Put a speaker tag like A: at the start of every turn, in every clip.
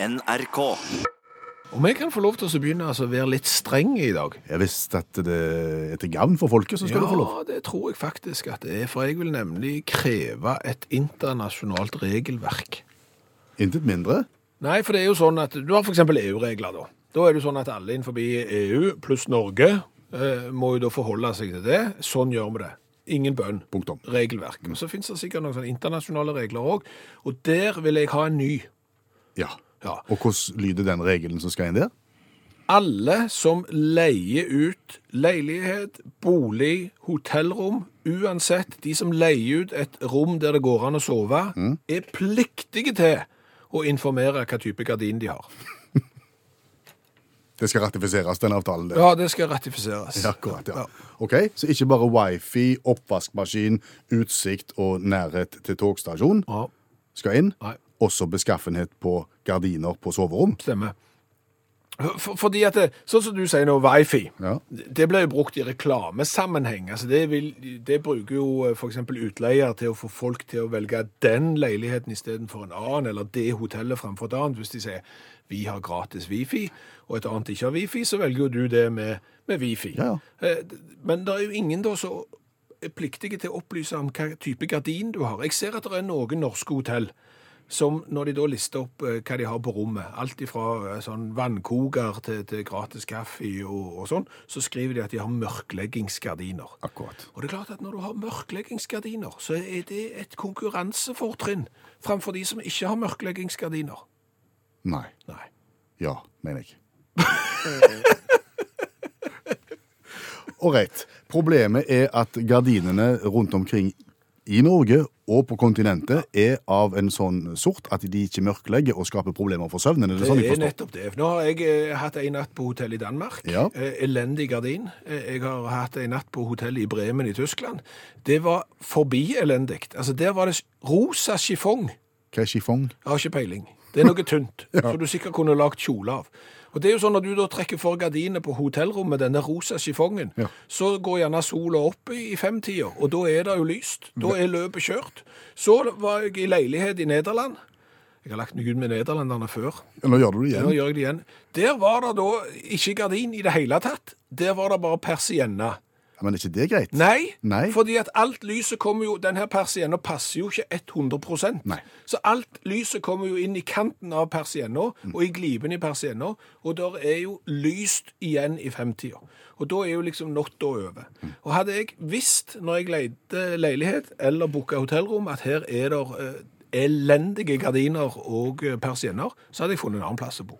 A: NRK.
B: Om jeg kan få lov til å begynne altså, å være litt streng i dag?
C: Ja, hvis dette det er til gavn for folket, så skal du få lov.
B: Ja, det tror jeg faktisk at det er, for jeg vil nemlig kreve et internasjonalt regelverk.
C: Intet mindre.
B: Nei, for det er jo sånn at du har f.eks. EU-regler, da. Da er det jo sånn at alle innenfor EU pluss Norge eh, må jo da forholde seg til det. Sånn gjør vi det. Ingen bønn.
C: Punktum.
B: Regelverk.
C: Mm.
B: Og så fins det sikkert noen sånne internasjonale regler òg, og der vil jeg ha en ny.
C: Ja.
B: Ja.
C: Og hvordan lyder den regelen som skal inn der?
B: Alle som leier ut leilighet, bolig, hotellrom, uansett de som leier ut et rom der det går an å sove,
C: Mm.
B: er pliktige til å informere hva type gardin de har.
C: Det skal ratifiseres, den avtalen der.
B: Ja, det skal ratifiseres.
C: Ja, akkurat, ja. Ok, Så ikke bare wifi, oppvaskmaskin, utsikt og nærhet til togstasjon
B: Ja,
C: skal inn.
B: Nei.
C: Også beskaffenhet på gardiner på soverom.
B: stemmer. For, fordi at det, Sånn som du sier nå, wifi.
C: Ja.
B: Det blir jo brukt i reklamesammenheng. Altså det, vil, det bruker jo f.eks. utleier til å få folk til å velge den leiligheten istedenfor en annen, eller det hotellet fremfor et annet. Hvis de sier vi har gratis wifi, og et annet ikke har wifi, så velger jo du det med, med wifi.
C: Ja,
B: Eh, d- Men det er jo ingen da som er pliktige til å opplyse om hva type gardin du har. Jeg ser at det er noen norske hotell som når de da lister opp eh, hva de har på rommet, alt ifra eh, sånn vannkoker til, til gratis kaffe og, og sånn, så skriver de at de har mørkleggingsgardiner.
C: akkurat.
B: Og det er klart at når du har mørkleggingsgardiner, så er det et konkurransefortrinn framfor de som ikke har mørkleggingsgardiner.
C: Nei.
B: Nei.
C: Ja, mener jeg. Ålreit. Problemet er at gardinene rundt omkring i Norge og på kontinentet er av en sånn sort at de ikke mørklegger og skaper problemer for søvnen. Er det sånn
B: Det
C: jeg
B: er
C: forstår?
B: Eh, nettopp det. Nå har jeg eh, hatt en natt på hotell i Danmark.
C: Ja.
B: Eh, elendig gardin. Eh, jeg har hatt en natt på hotell i Bremen i Tyskland. Det var forbi elendig. Altså, der var det s- rosa chiffon.
C: Hva er chiffon?
B: Jeg har ikke peiling. Det er noe tynt, som du sikkert kunne lagt kjole av. Og det er jo sånn Når du da trekker for gardinene på hotellrommet, denne rosa chiffongen,
C: Ja.
B: så går gjerne sola opp i i femtida, og da er det jo lyst. Da er løpet kjørt. Så var jeg i leilighet i Nederland. Jeg har lagt meg ut med nederlenderne før.
C: Nå gjør du det
B: Ja, Nå
C: igjen.
B: gjør jeg det igjen. Der var det da ikke gardin i det hele tatt. Der var det bare persienne.
C: Ja, Men er ikke det greit?
B: Nei,
C: Nei.
B: fordi at alt lyset kommer jo Den her persienna passer jo ikke 100
C: Nei.
B: Så alt lyset kommer jo inn i kanten av persienna og i gliben i persienna, og der er jo lyst igjen i femtida. Og da er jo liksom natta over. Og hadde jeg visst når jeg leide leilighet eller booka hotellrom, at her er det eh, elendige gardiner og eh, persienner, så hadde jeg funnet en annen plass å bo.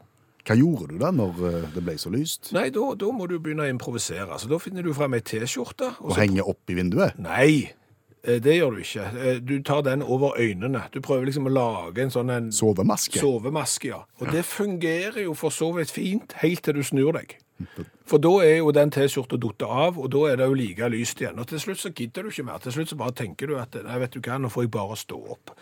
C: Hva gjorde du da når eh, det ble så lyst?
B: Nei, da, da må du begynne å improvisere. Så da finner du fram ei T-skjorte.
C: Å
B: og så-
C: henge opp i vinduet?
B: Nei, eh, det gjør du ikke. Eh, Du tar den over øynene. Du prøver liksom å lage en sånn en
C: Sovemaske?
B: sovemaske, ja. Og det fungerer jo for så vidt fint helt til du snur deg. For da er jo den T-skjorta datt av, og da er det jo like lyst igjen. Og til slutt så gidder du ikke mer. Til slutt så bare tenker du at nei, vet du hva, nå får jeg bare stå opp.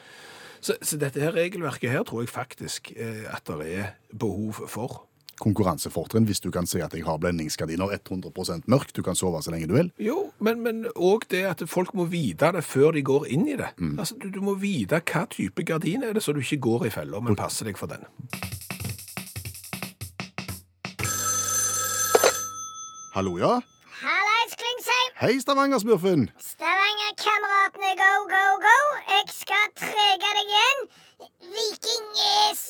B: Så, så dette her regelverket her tror jeg faktisk eh, at det er behov for.
C: Konkurransefortrinn hvis du kan si at jeg har blendingsgardiner 100 mørk, du kan sove så lenge du vil.
B: Jo, men, men òg det at folk må vite det før de går inn i det. Altså, du, du må vite hva type gardin er det, så du ikke går i fella, men passer deg for den.
C: Hallo, ja?
D: Hallais, Klingsheim!
C: Hei, Stavanger-smurfen!
D: Stavanger-kameratene, go, go, go! Jeg skal trege deg igjen. Viking is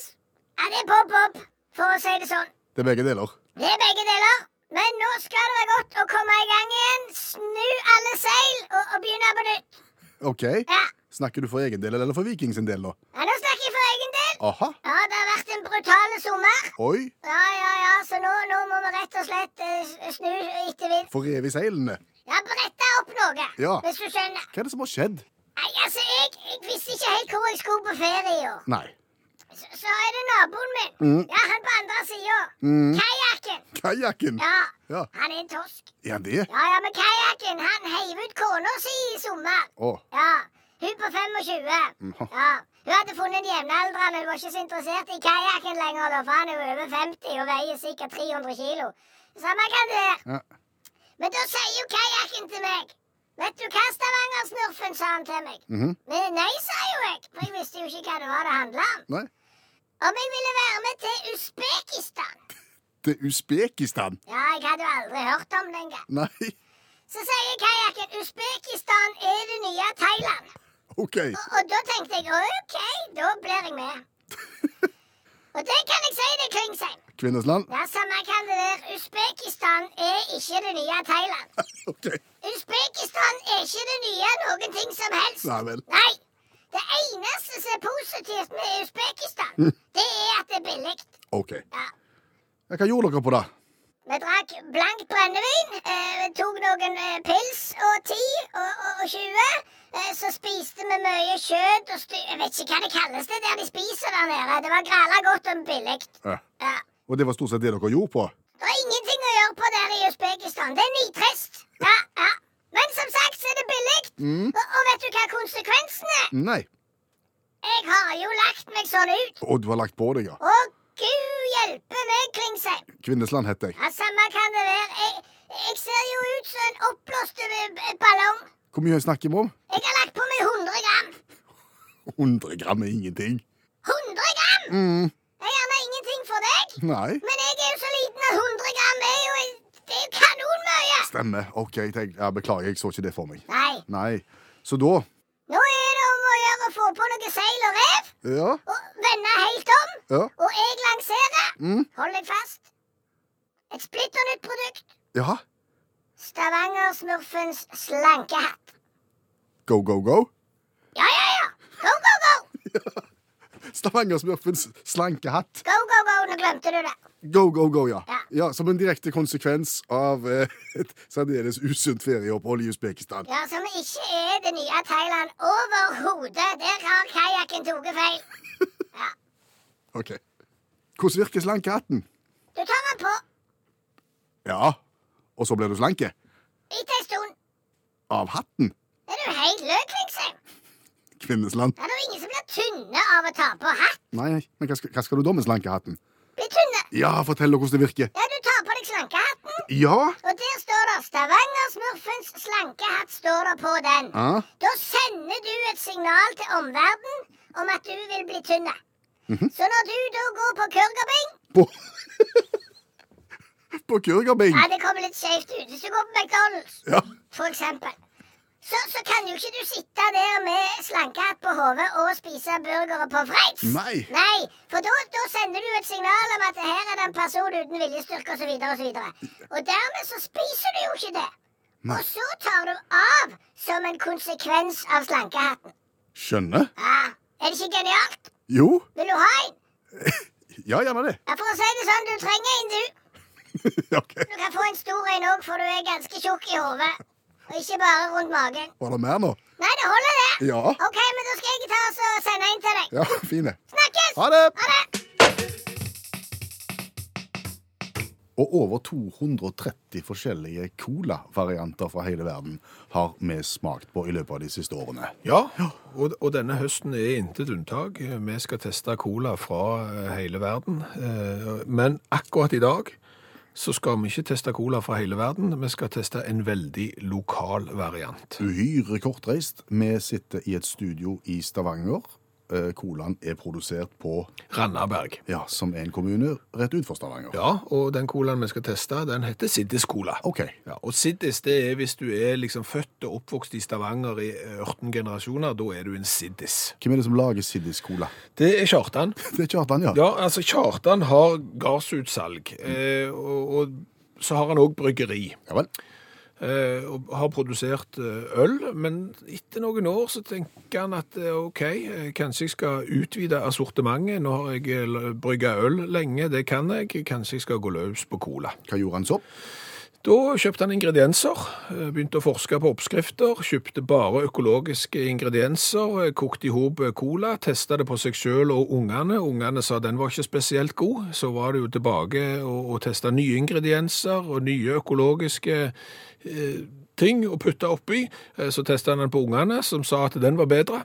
D: Ja, det er bob, bob, for å si det sånn.
C: Det er begge deler.
D: Det er begge deler. Men nå skal det være godt å komme i gang igjen. Snu alle seil og, og begynne på nytt.
C: Ok.
D: Ja.
C: Snakker du for egen del eller for Viking sin del, da?
D: ja, nå snakker jeg for egen del.
C: Aha.
D: Ja, det har vært en brutal sommer.
C: Oi.
D: Ja, ja, ja, så nå, nå må vi rett og slett eh, snu etter vind.
C: For rev i seilene.
D: Ja, brette opp noe,
C: Ja.
D: hvis du skjønner.
C: Hva er det som har skjedd?
D: Nei, altså, jeg, jeg visste ikke helt hvor jeg skulle på ferie i år.
C: Nei.
D: Så, så er det naboen min. Ja, han på andre sida. Kajakken.
C: Kajakken.
D: Ja,
C: Ja.
D: han er en torsk.
C: Ja, det.
D: Ja, ja, men kajakken, han heiv ut kona si i sommer.
C: Å.
D: Ja, hun på 25.
C: Mhm.
D: Ja, hun hadde funnet en jevnaldrende. Hun var ikke så interessert i kajakken lenger, da, for han er jo over 50 og veier sikkert 300 kilo. Samme hva det er.
C: Ja.
D: Men da sier jo kajakken til meg Vet du hva, Stavanger-smurfen, sa han til meg.
C: Mhm.
D: Men nei, sa jo jeg, for jeg visste jo ikke hva det var det handla om.
C: Nei.
D: om jeg ville være med til Usbekistan.
C: Til Usbekistan?
D: Ja, jeg hadde jo aldri hørt om det engang.
C: Nei.
D: Så sier kajakken Usbekistan er det nye Thailand.
C: OK.
D: Og, og da tenkte jeg OK, da blir jeg med. Og det kan jeg si til Klingsheim.
C: Kvinnesland?
D: Ja, samme kan det der. Usbekistan er ikke det nye Thailand.
C: OK.
D: Usbekistan er ikke det nye noen ting som helst.
C: Nei vel.
D: Nei. Det eneste som er positivt med Usbekistan, det er at det er billig.
C: OK.
D: Ja.
C: Ja, Hva gjorde dere på det?
D: Vi drakk blankt brennevin, eh, vi tok noen eh, pils og 10 og, og, og 20. Eh, så spiste vi mye kjøtt og stu... Jeg vet ikke hva det kalles det der de spiser der nede. Det var gralla godt og billig.
C: Ja.
D: Ja.
C: Og det var stort sett det dere gjorde på?
D: Det er ingenting å gjøre på der i Usbekistan. Det er nitrist. Ja, ja. Men som sagt så er det billig. Og, og vet du hva konsekvensen er?
C: Nei.
D: Jeg har jo lagt meg sånn ut.
C: Og du har lagt på deg, ja.
D: Å, gud hjelpe meg, Klingsheim.
C: Kvinnesland heter jeg.
D: Ja, samme kan det være. Jeg, jeg ser jo ut som en oppblåst eh, b- ballong.
C: Hvor mye snakker vi om?
D: Jeg har lagt på meg 100 gram.
C: 100 gram er ingenting.
D: 100 gram!
C: Mm.
D: Det er gjerne ingenting for deg.
C: Nei.
D: Men jeg er jo så liten at 100 gram er jo, det er jo kanonmye.
C: Stemmer. OK, jeg tenk, ja, beklager, jeg så ikke det for meg.
D: Nei,
C: Nei. Så da
D: nå er det om å gjøre å få på noe seil og rev.
C: Ja.
D: Og vende helt om.
C: Ja.
D: Og jeg lanserer.
C: Mm.
D: Hold deg fast. Et splitter nytt produkt.
C: ja.
D: Stavanger-smurfens slankehatt.
C: Go, go, go.
D: Ja, ja, ja! Go, go, go!
C: Stavanger-smurfens slanke hatt.
D: Go, go, go! Nå glemte du det.
C: Go, go, go, ja.
D: Ja.
C: ja som en direkte konsekvens av eh, et særdeles usunt ferieopphold i Usbekistan.
D: Ja, Som ikke er det nye Thailand overhodet. Der har kajakken tatt feil.
C: OK. Hvordan virker slankehatten?
D: Du tar den på
C: Ja. Og så blir du slanke?
D: etter ei stund.
C: Av hatten?
D: Er du helt løk, Klingsheim?
C: Kvinnesland.
D: Det er jo ingen som blir tynne av å ta på hatt.
C: Nei, men hva skal, hva skal du da med slankehatten?
D: Blir tynne.
C: Ja, fortell hvordan det virker.
D: Ja, du tar på deg slankehatten,
C: Ja?
D: og der står det 'Stavanger-smurfens slankehatt' står det på den.
C: Ja.
D: Da sender du et signal til omverdenen om at du vil bli tynn. Så når du da går på kurgerbing
C: På, på kurgerbing.
D: Ja, det kommer litt skjevt ut. Hvis du går på McDonald's,
C: Ja.
D: for eksempel, så, så kan jo ikke du sitte der med slankehatt på hodet og spise burgere på Freits.
C: Nei.
D: Nei, for da, da sender du et signal om at her er det en person uten viljestyrke osv. Og, så videre. og dermed så spiser du jo ikke det.
C: Nei.
D: Og så tar du av som en konsekvens av slankehatten.
C: Skjønner?
D: Ja, er det ikke genialt?
C: Jo.
D: Vil du ha en?
C: Ja, gjerne det.
D: Ja, for å si det sånn, du trenger en, du.
C: OK.
D: Du kan få en stor en òg, for du er ganske tjukk i hodet. Og ikke bare rundt magen.
C: Var det mer nå?
D: Nei, det holder, det.
C: Ja.
D: OK, men da skal jeg ta oss og sende en til deg.
C: Ja, fine.
D: Snakkes!
C: Ha det!
D: Ha det!
C: Og over 230 forskjellige cola-varianter fra hele verden har vi smakt på i løpet av de siste årene.
B: Ja, og, og denne høsten er intet unntak. Vi skal teste cola fra eh, hele verden. Eh, Men akkurat i dag så skal vi ikke teste cola fra hele verden, vi skal teste en veldig lokal variant.
C: Uhyre kortreist. Vi sitter i et studio i Stavanger. Eh, Colaen er produsert på,
B: Randaberg.
C: ja, som en kommune, rett utenfor Stavanger.
B: Ja, og den colaen vi skal teste, den heter Siddis Cola.
C: OK.
B: Ja, og Siddis, det er hvis du er liksom født og oppvokst i Stavanger i 18 generasjoner, da er du en Siddis.
C: Hvem er det som lager Siddis Cola?
B: Det er Kjartan.
C: Det er Kjartan, ja.
B: Ja, altså Kjartan har gassutsalg, eh, og, og så har han òg bryggeri.
C: Ja vel.
B: Eh, og har produsert eh, øl, men etter noen år så tenker han at eh, OK, eh, kanskje jeg skal utvide assortimentet. Nå har jeg eh, brygga øl lenge, det kan jeg. Kanskje jeg skal gå løs på cola.
C: Hva gjorde han så?
B: Da kjøpte han ingredienser, eh, begynte å forske på oppskrifter, kjøpte bare økologiske ingredienser, eh, kokte i hop cola, testa det på seg sjøl og ungene. Ungene sa den var ikke spesielt god, så var det jo tilbake og, og testa nye ingredienser og nye økologiske eh, ting å putte oppi. Eh, Så testa han den på ungene, som sa at den var bedre.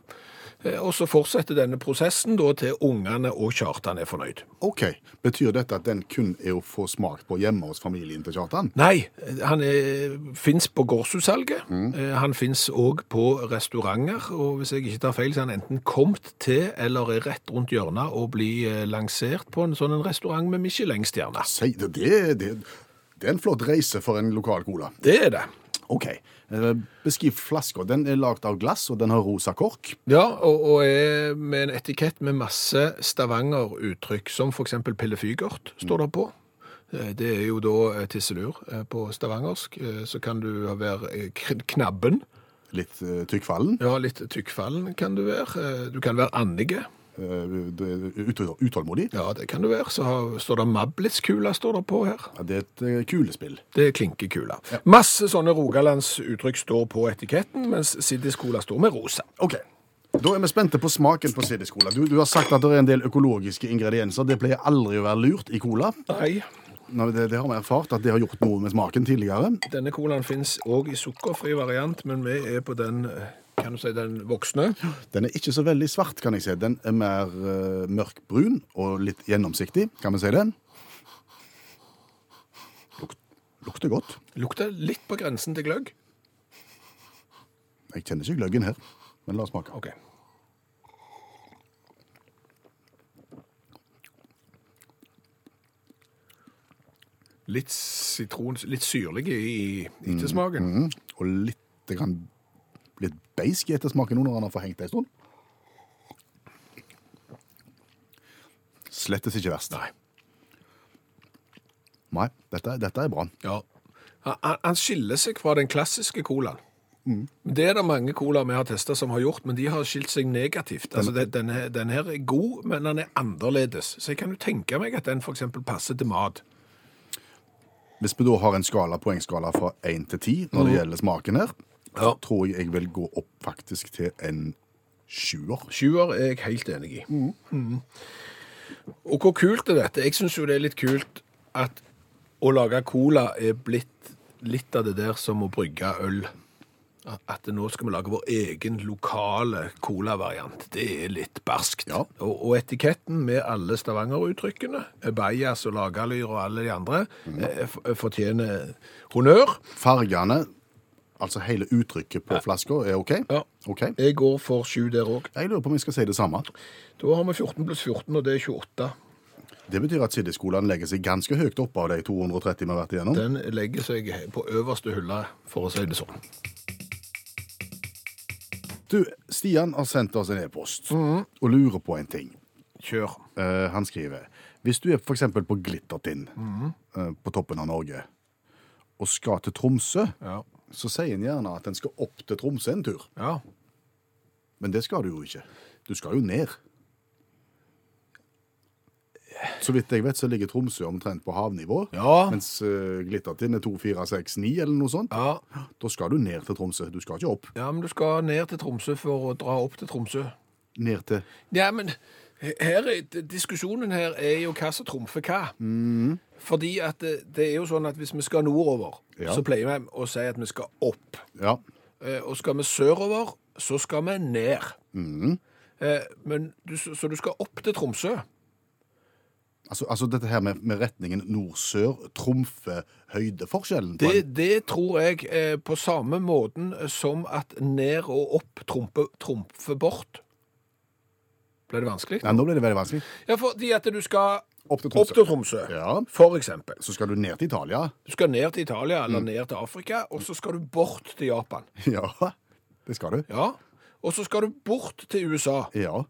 B: Eh, Og så fortsetter denne prosessen da til ungene og Kjartan er fornøyd.
C: Ok, Betyr dette at den kun er å få smak på hjemme hos familien til Kjartan?
B: Nei, eh, han fins på gårdsutsalget. Eh, Han fins òg på restauranter. Og hvis jeg ikke tar feil, så er han enten kommet til eller er rett rundt hjørnet og blir eh, lansert på en sånn en restaurant med Michelin-stjerne.
C: Si det, det, det, det er en flott reise for en lokal cola.
B: Det er det.
C: Ok, eh, Beskriv flaska. Den er lagd av glass, og den har rosa kork.
B: Ja, og, og er med en etikett med masse Stavanger-uttrykk, som f.eks. pillefygert, står det på. Eh, Det er jo da eh, tisselur eh, på stavangersk. Eh, Så kan du være eh, kn- knabben.
C: Litt uh, tykkfallen.
B: Ja, litt tykkfallen kan du være. Eh, Du kan være andige.
C: eh, det- ut- utålmodig.
B: Ja, det kan du være. Så har- står det mablitzkula står det på her.
C: Ja, det er et eh, kulespill.
B: Det er klinkekula. Masse sånne rogalandsuttrykk står på etiketten, mens siddiskola står med rosa.
C: Ok, Da er vi spente på smaken på cd cola Du, du har sagt at det er en del økologiske ingredienser. Det pleier aldri å være lurt i cola.
B: Nei,
C: Nå, det, det har vi erfart at det har gjort noe med smaken tidligere.
B: Denne colaen finnes òg i sukkerfri variant, men vi er på den eh, kan du si, den voksne.
C: Den er ikke så veldig svart, kan jeg si. Den er mer eh, mørkbrun og litt gjennomsiktig. Kan vi si det? Luk, lukter godt.
B: Lukter litt på grensen til gløgg.
C: Jeg kjenner ikke gløggen her, men la oss smake.
B: Ok. Litt sitron, litt syrlig i, i til smaken.
C: Mhm. Og litt, grann, litt beisk i ettersmaken nå når han har forhengt det en stund. Slettes ikke verst. Nei. Nei, dette, dette er bra.
B: Ja. Han, han- han skiller seg fra den klassiske colaen. Det er det mange colaer vi har testa som har gjort, men de har skilt seg negativt. Altså, det, den, her, den her er god, men den er annerledes. Så jeg kan jo tenke meg at den f.eks. passer til mat.
C: Hvis vi da har en skala, poengskala fra 1 til 10 når det gjelder smaken her,
B: Ja.
C: tror jeg jeg vil gå opp faktisk til en sjuer.
B: Sjuer er jeg helt enig i. Mhm. Og hvor kult er dette? Jeg syns jo det er litt kult at å lage cola er blitt litt av det der som å brygge øl. At nå skal vi lage vår egen lokale colavariant. Det er litt barskt.
C: Ja.
B: Og, og etiketten med alle Stavanger-uttrykkene, Bajas og Lagerlyr og alle de andre, eh, f- fortjener honnør.
C: Fargene, altså hele uttrykket på flaska, er OK?
B: Ja.
C: OK.
B: Jeg går for sju der òg.
C: Jeg lurer på om jeg skal si det samme.
B: Da har vi 14 pluss 14, og det er 28.
C: Det betyr at Siddiskolene legger seg ganske høyt opp av de 230 vi har vært igjennom.
B: Den legger seg på øverste hylla, for å si det sånn.
C: Du, Stian har sendt oss en e-post og lurer på en ting.
B: Kjør.
C: Eh, han skriver Hvis du er f.eks. på Glittertind, eh, på toppen av Norge, og skal til Tromsø,
B: Ja.
C: så sier en gjerne at en skal opp til Tromsø en tur.
B: ja.
C: Men det skal du jo ikke. Du skal jo ned. Så vidt jeg vet, så ligger Tromsø omtrent på havnivå.
B: Ja.
C: Mens eh, Glittertind er 2469 eller noe sånt.
B: Ja.
C: Da skal du ned til Tromsø. Du skal ikke opp.
B: men du skal ned til Tromsø for å dra opp til Tromsø.
C: Ned til
B: Ja, men her, er- diskusjonen her er jo hva som trumfer hva. Mm. Fordi at det, det er jo sånn at hvis vi skal nordover,
C: Ja.
B: så pleier vi å si at vi skal opp.
C: Ja.
B: Eh, Og skal vi sørover, så skal vi ned. Eh, Men du, så du skal opp til Tromsø?
C: Altså, altså dette her med, med retningen nord-sør trumfer høydeforskjellen. på en-
B: Det, det tror jeg eh, på samme måten som at ned og opp trumper trumfer bort. Ble det vanskelig?
C: Nei, nå ble det veldig vanskelig.
B: Ja, fordi at du skal
C: Opp til
B: opp
C: Tromsø.
B: til Tromsø,
C: Ja.
B: for eksempel.
C: Så skal du ned til Italia.
B: Du skal ned til Italia
C: Mm.
B: eller ned til Afrika, og så skal du bort til Japan.
C: Ja, det skal du.
B: Ja, og så skal du bort til USA.
C: Ja.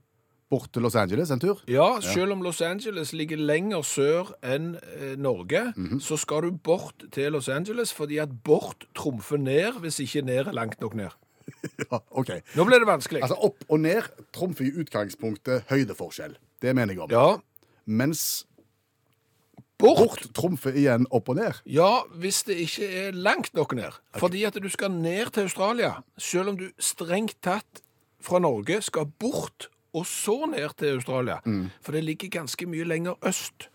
C: Bort til Los Angeles en tur.
B: Ja, selv om Los Angeles ligger lenger sør enn eh, Norge,
C: Mhm.
B: så skal du bort til Los Angeles, fordi at bort trumfer ned hvis ikke ned er langt nok ned.
C: Ja, ok.
B: Nå ble det vanskelig.
C: Altså opp og ned trumfer i utgangspunktet høydeforskjell. Det mener jeg om.
B: ja,
C: Mens
B: bort
C: bort trumfer igjen opp og ned.
B: Ja, hvis det ikke er langt nok ned. Fordi at du skal ned til Australia, selv om du strengt tatt fra Norge skal bort og så ned til Australia. For det ligger ganske mye lenger øst.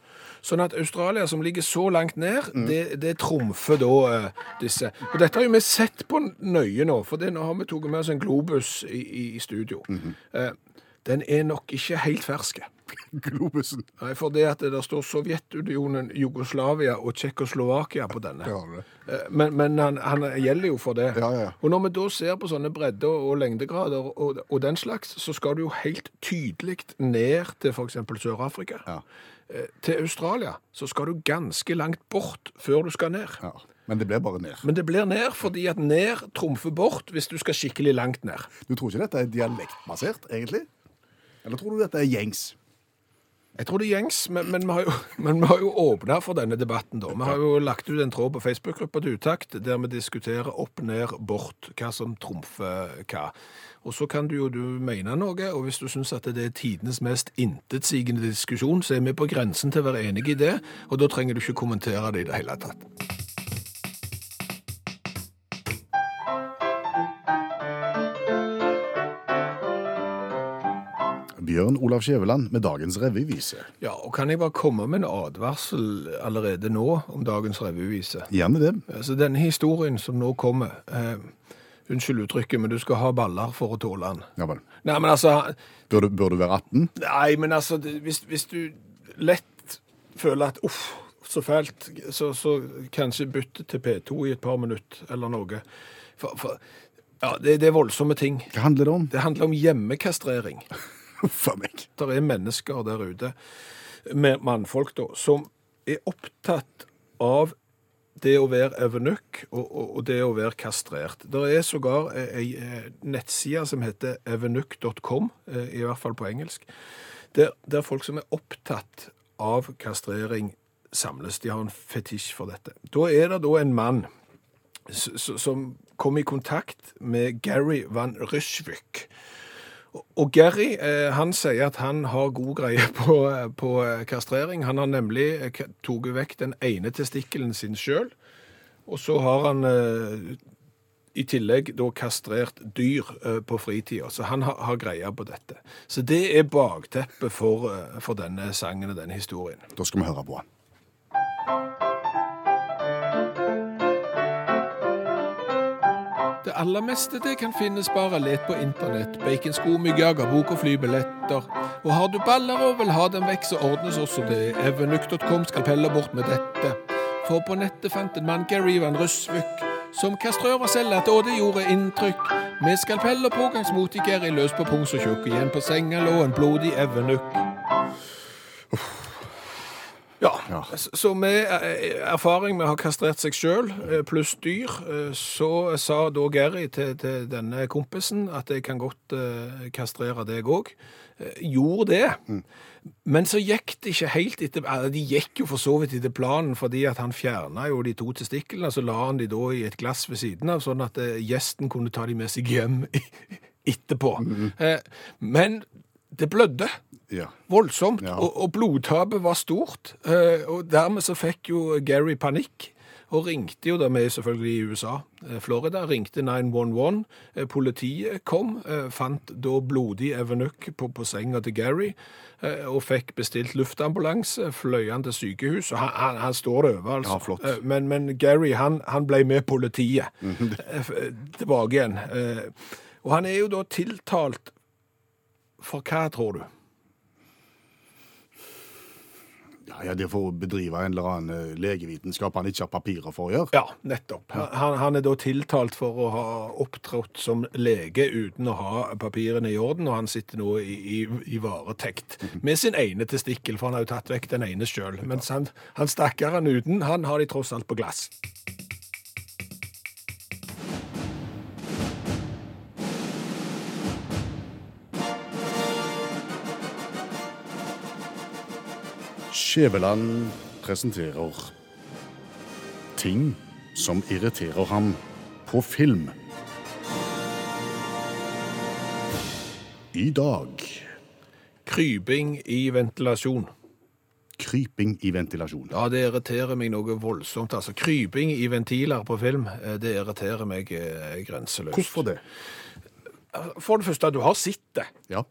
B: Sånn at Australia, som ligger så langt ned, det, det trumfer da eh, disse. Og dette har jo vi sett på nøye nå, for det, nå har vi tatt med oss en globus i, i- i studio. Eh, den er nok ikke helt ferske.
C: Globusen.
B: Nei, for det at det der står Sovjetunionen, Jugoslavia og Tsjekkoslovakia på denne.
C: Ja, det.
B: Eh, Men, men han, han gjelder jo for det.
C: Ja, ja.
B: Og når vi da ser på sånne bredde- og lengdegrader og, og den slags, så skal du jo helt tydelig ned til f.eks. Sør-Afrika.
C: Ja.
B: Eh, Til Australia så skal du ganske langt bort før du skal ned.
C: Ja. Men det blir bare ned.
B: Men det blir ned fordi at ned trumfer bort hvis du skal skikkelig langt ned.
C: Du tror ikke dette er dialektbasert, egentlig? Eller tror du dette er gjengs?
B: Jeg tror det er gjengs, men, men vi har jo, men vi har jo åpna for denne debatten, da. Vi har jo lagt ut en tråd på Facebook-gruppa til Utakt der vi diskuterer opp, ned, bort, hva som trumfer hva. Og så kan du jo du mene noe, og hvis du syns at det er tidenes mest intetsigende diskusjon, så er vi på grensen til å være enig i det, og da trenger du ikke kommentere det i det hele tatt.
C: Bjørn Olav Skjæveland med dagens revyvise.
B: Ja, og kan jeg bare komme med en advarsel allerede nå om dagens revyvise?
C: Gjerne det.
B: Altså, denne historien som nå kommer eh, Unnskyld uttrykket, men du skal ha baller for å tåle den.
C: Ja vel.
B: Nei, men altså,
C: Bør du, bør du være 18?
B: nei, men altså det- hvis, hvis du lett føler at uff, så fælt, så, så kanskje bytte til P2 i et par minutter eller noe. For, for, ja, det, det er voldsomme ting.
C: Hva handler det om?
B: Det handler om hjemmekastrering.
C: Huff a meg.
B: Det er mennesker der ute, med mannfolk da, som er opptatt av det å være evenukk og, og, og det å være kastrert. Det er sågar ei ei nettside som heter evenukk.com, eh, i hvert fall på engelsk, der, der folk som er opptatt av kastrering samles. De har en fetisj for dette. Da er det da en mann s- s- som kom i kontakt med Gary van Rysvik. Og Gary eh, han sier at han har god greie på, på eh, kastrering. Han har nemlig eh, k- tatt vekk den ene testikkelen sin sjøl, og så har han eh, i tillegg da kastrert dyr eh, på fritida. Så han har, har greie på dette. Så det er bakteppet for, eh, for denne sangen og denne historien.
C: Da skal vi høre på han.
B: Det aller meste det kan finnes bare let på internett. Baconsko, myggjagerbok og flybilletter. Og har du baller og vil ha dem vekk, så ordnes også det. Evenuk.com skal pelle bort med dette. For på nettet fant en mann, Gary Van Rysvik, som kastrør og selger, og det gjorde inntrykk. Med skalpell og pågangsmot gikk Gary løs på pungs og tjukk. Igjen på senga lå en blodig evenuk. Ja,
C: Ja.
B: s- så med eh, erfaring med å ha kastrert seg sjøl pluss dyr, eh, så sa da Gary til, til denne kompisen at jeg kan godt eh, kastrere deg òg. Gjorde det. Men så gikk det ikke helt etter eh, De gikk jo for så vidt etter planen, fordi at han fjerna jo de to testiklene. Så la han de da i et glass ved siden av, sånn at eh, gjesten kunne ta de med seg hjem etterpå. Eh, Men det blødde
C: Ja.
B: voldsomt,
C: Ja.
B: og, og blodtapet var stort. eh, Og dermed så fikk jo Gary panikk, og ringte jo da vi er selvfølgelig i USA, eh, Florida, ringte 911. eh, Politiet kom, eh, fant da blodig evenukk på, på senga til Gary, eh, og fikk bestilt luftambulanse, fløy han til sykehus, og han, han, han står det over, altså.
C: Ja, flott.
B: Eh, Men, men Gary, han, han ble med politiet
C: Mm.
B: eh, f- eh, tilbake igjen. eh, Og han er jo da tiltalt for hva, tror du?
C: Ja, ja, det får bedrive en eller annen eh, legevitenskap han ikke har papirer for å gjøre.
B: Ja, nettopp. Han, han er da tiltalt for å ha opptrådt som lege uten å ha papirene i orden, og han sitter nå i, i, i varetekt med sin ene testikkel, for han har jo tatt vekk den ene sjøl. Mens han, han stakkaren uten, han har de tross alt på glass.
C: Skjæveland presenterer ting som irriterer ham på film. I dag
B: Kryping i ventilasjon.
C: kryping i ventilasjon.
B: Ja, det irriterer meg noe voldsomt. Altså, kryping i ventiler på film, eh, det irriterer meg eh, grenseløst.
C: Hvorfor det?
B: For det første, du har sett det.
C: Ja.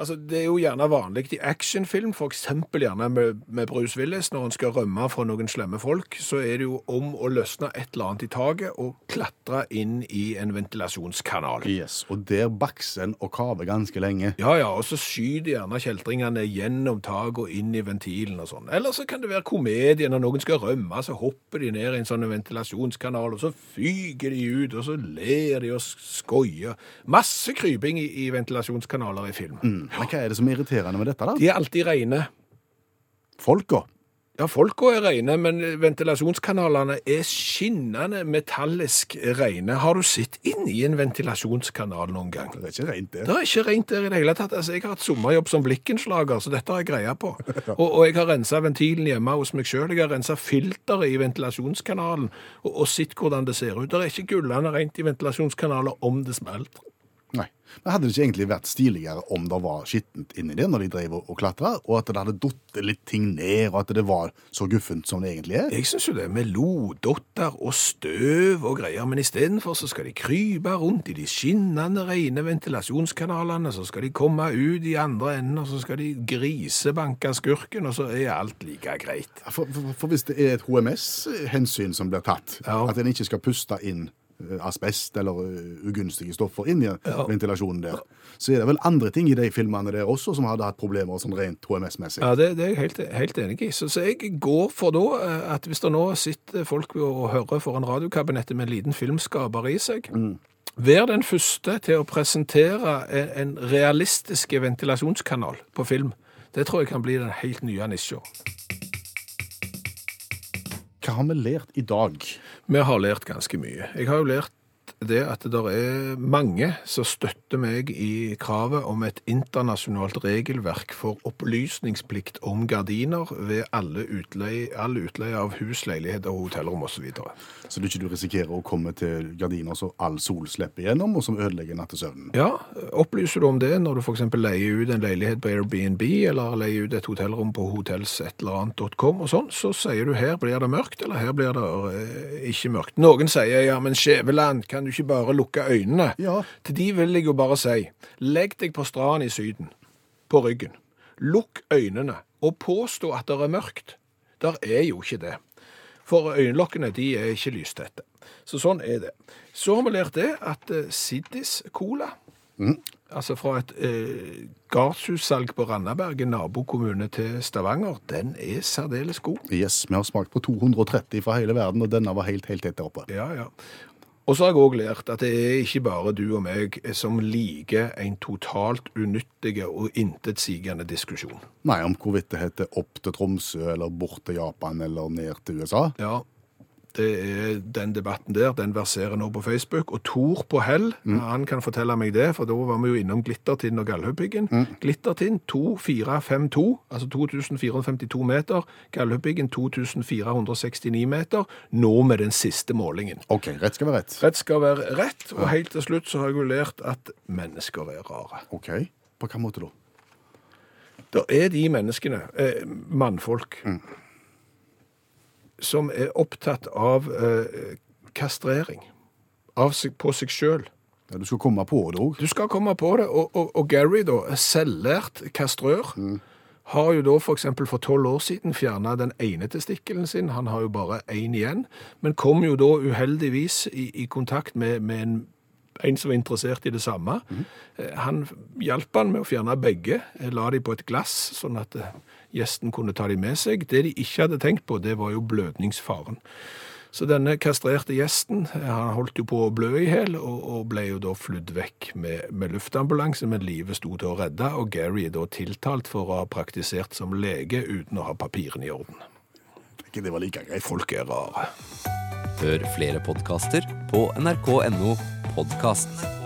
B: Altså, det er jo gjerne vanlig i actionfilm, f.eks. gjerne med, med Bruce Willis, når han skal rømme fra noen slemme folk, så er det jo om å løsne et eller annet i taket og klatre inn i en ventilasjonskanal.
C: Yes, Og der bakser en og kaver ganske lenge.
B: Ja, ja, og så skyter gjerne kjeltringene gjennom taket og inn i ventilen og sånn. Eller så kan det være komedie når noen skal rømme, så hopper de ned i en sånn ventilasjonskanal, og så fyker de ut, og så ler de og skoier. Masse kryping i, i ventilasjonskanaler i film.
C: Hmm. Men hva er det som er irriterende med dette, da?
B: De er alltid rene.
C: Folka.
B: Ja, folka er rene, men ventilasjonskanalene er skinnende metallisk rene. Har du sett inni en ventilasjonskanal noen gang?
C: Det er ikke rent, det.
B: Det er ikke rent der i det hele tatt. Altså, jeg har hatt sommerjobb som blikkenslager, så dette har jeg greia på. Og, og jeg har rensa ventilen hjemme hos meg sjøl. Jeg har rensa filteret i ventilasjonskanalen og, og sett hvordan det ser ut. Det er ikke gullende rent i ventilasjonskanaler om det smelt.
C: Nei. Men Hadde det ikke egentlig vært stiligere om det var skittent inni det når de drev og klatra, og at det hadde datt litt ting ned, og at det var så guffent som det egentlig er?
B: Jeg syns jo det er med lodotter og støv og greier, men istedenfor så skal de krype rundt i de skinnende rene ventilasjonskanalene, så skal de komme ut i andre enden, og så skal de grisebanke skurken, og så er alt like greit.
C: For, for, for hvis det er et HMS-hensyn som blir tatt,
B: Ja.
C: at en ikke skal puste inn eh, asbest eller eh, ugunstige stoffer inn i ventilasjonen der, så er det vel andre ting i de filmene der også som hadde hatt problemer sånn rent HMS-messig.
B: Ja, det, det er jeg helt, helt enig i. Så, så jeg går for da eh, at hvis det nå sitter folk og hører foran radiokabinettet med en liten filmskaper i seg, vær den første til å presentere en, en realistisk ventilasjonskanal på film. Det tror jeg kan bli den helt nye nisja.
C: Hva har vi lært i dag?
B: Vi har lært ganske mye. Jeg har jo lært det at det er mange som støtter meg i kravet om et internasjonalt regelverk for opplysningsplikt om gardiner ved alle utleie, all utleie av hus, leiligheter, hotellrom osv.
C: Så du ikke du risikerer å komme til gardiner som all sol slipper gjennom, og som ødelegger nattesøvnen.
B: Ja, opplyser du om det når du f.eks. leier ut en leilighet på Airbnb, eller leier ut et hotellrom på hotells.com og sånn, så sier du her blir det mørkt, eller her blir det eh, ikke mørkt. Noen sier ja, men Skjæveland, kan du ikke bare lukke øynene?
C: Ja.
B: Til de vil jeg jo bare si, legg deg på stranden i syden, på ryggen. Lukk øynene, og påstå at det er mørkt. Der er jo ikke det. For øyenlokkene, de er ikke lystette. Så sånn er det. Så har vi lært det at eh, Siddis Cola, altså fra et eh, gardshussalg på Randaberg, en nabokommune til Stavanger, den er særdeles god.
C: Yes, vi har smakt på 230 fra hele verden, og denne var helt, helt tett der oppe.
B: Ja, ja. Og så har jeg òg lært at det er ikke bare du og meg som liker en totalt unyttig og intetsigende diskusjon.
C: Nei, om hvorvidt det heter opp til Tromsø, eller bort til Japan, eller ned til USA.
B: Ja, det er den debatten der, den verserer nå på Facebook. Og Tor på hell, han kan fortelle meg det, for da var vi jo innom Glittertind og Galdhøpiggen. Glittertind 2452, altså 2452 meter. Galdhøpiggen 2469 meter, nå med den siste målingen.
C: Ok, rett skal være rett.
B: Rett skal være rett, og helt til slutt så har jeg jo lært at mennesker er rare.
C: Ok, på hvilken måte da?
B: Det er de menneskene, eh, mannfolk, som er opptatt av eh, kastrering av seg, på seg sjøl.
C: Ja, du skal komme på det òg.
B: Du skal komme på det, og, og, og Gary, da, er selvlært kastrør, har jo da f.eks. for tolv år siden fjerna den ene testikkelen sin, han har jo bare én igjen, men kom jo da uheldigvis i, i kontakt med, med en en som var interessert i det samme. Eh, Han hjalp han med å fjerne begge, eh, la de på et glass, sånn at eh, gjesten kunne ta de med seg. Det de ikke hadde tenkt på, det var jo blødningsfaren. Så denne kastrerte gjesten eh, han holdt jo på å blø i hjel, og, og ble jo da flydd vekk med, med luftambulanse, men livet sto til å redde, og Gary er da tiltalt for å ha praktisert som lege uten å ha papirene i orden.
C: Ikke det var like greit.
B: Folk er rare.
A: Hør flere podkaster på nrk.no podkast.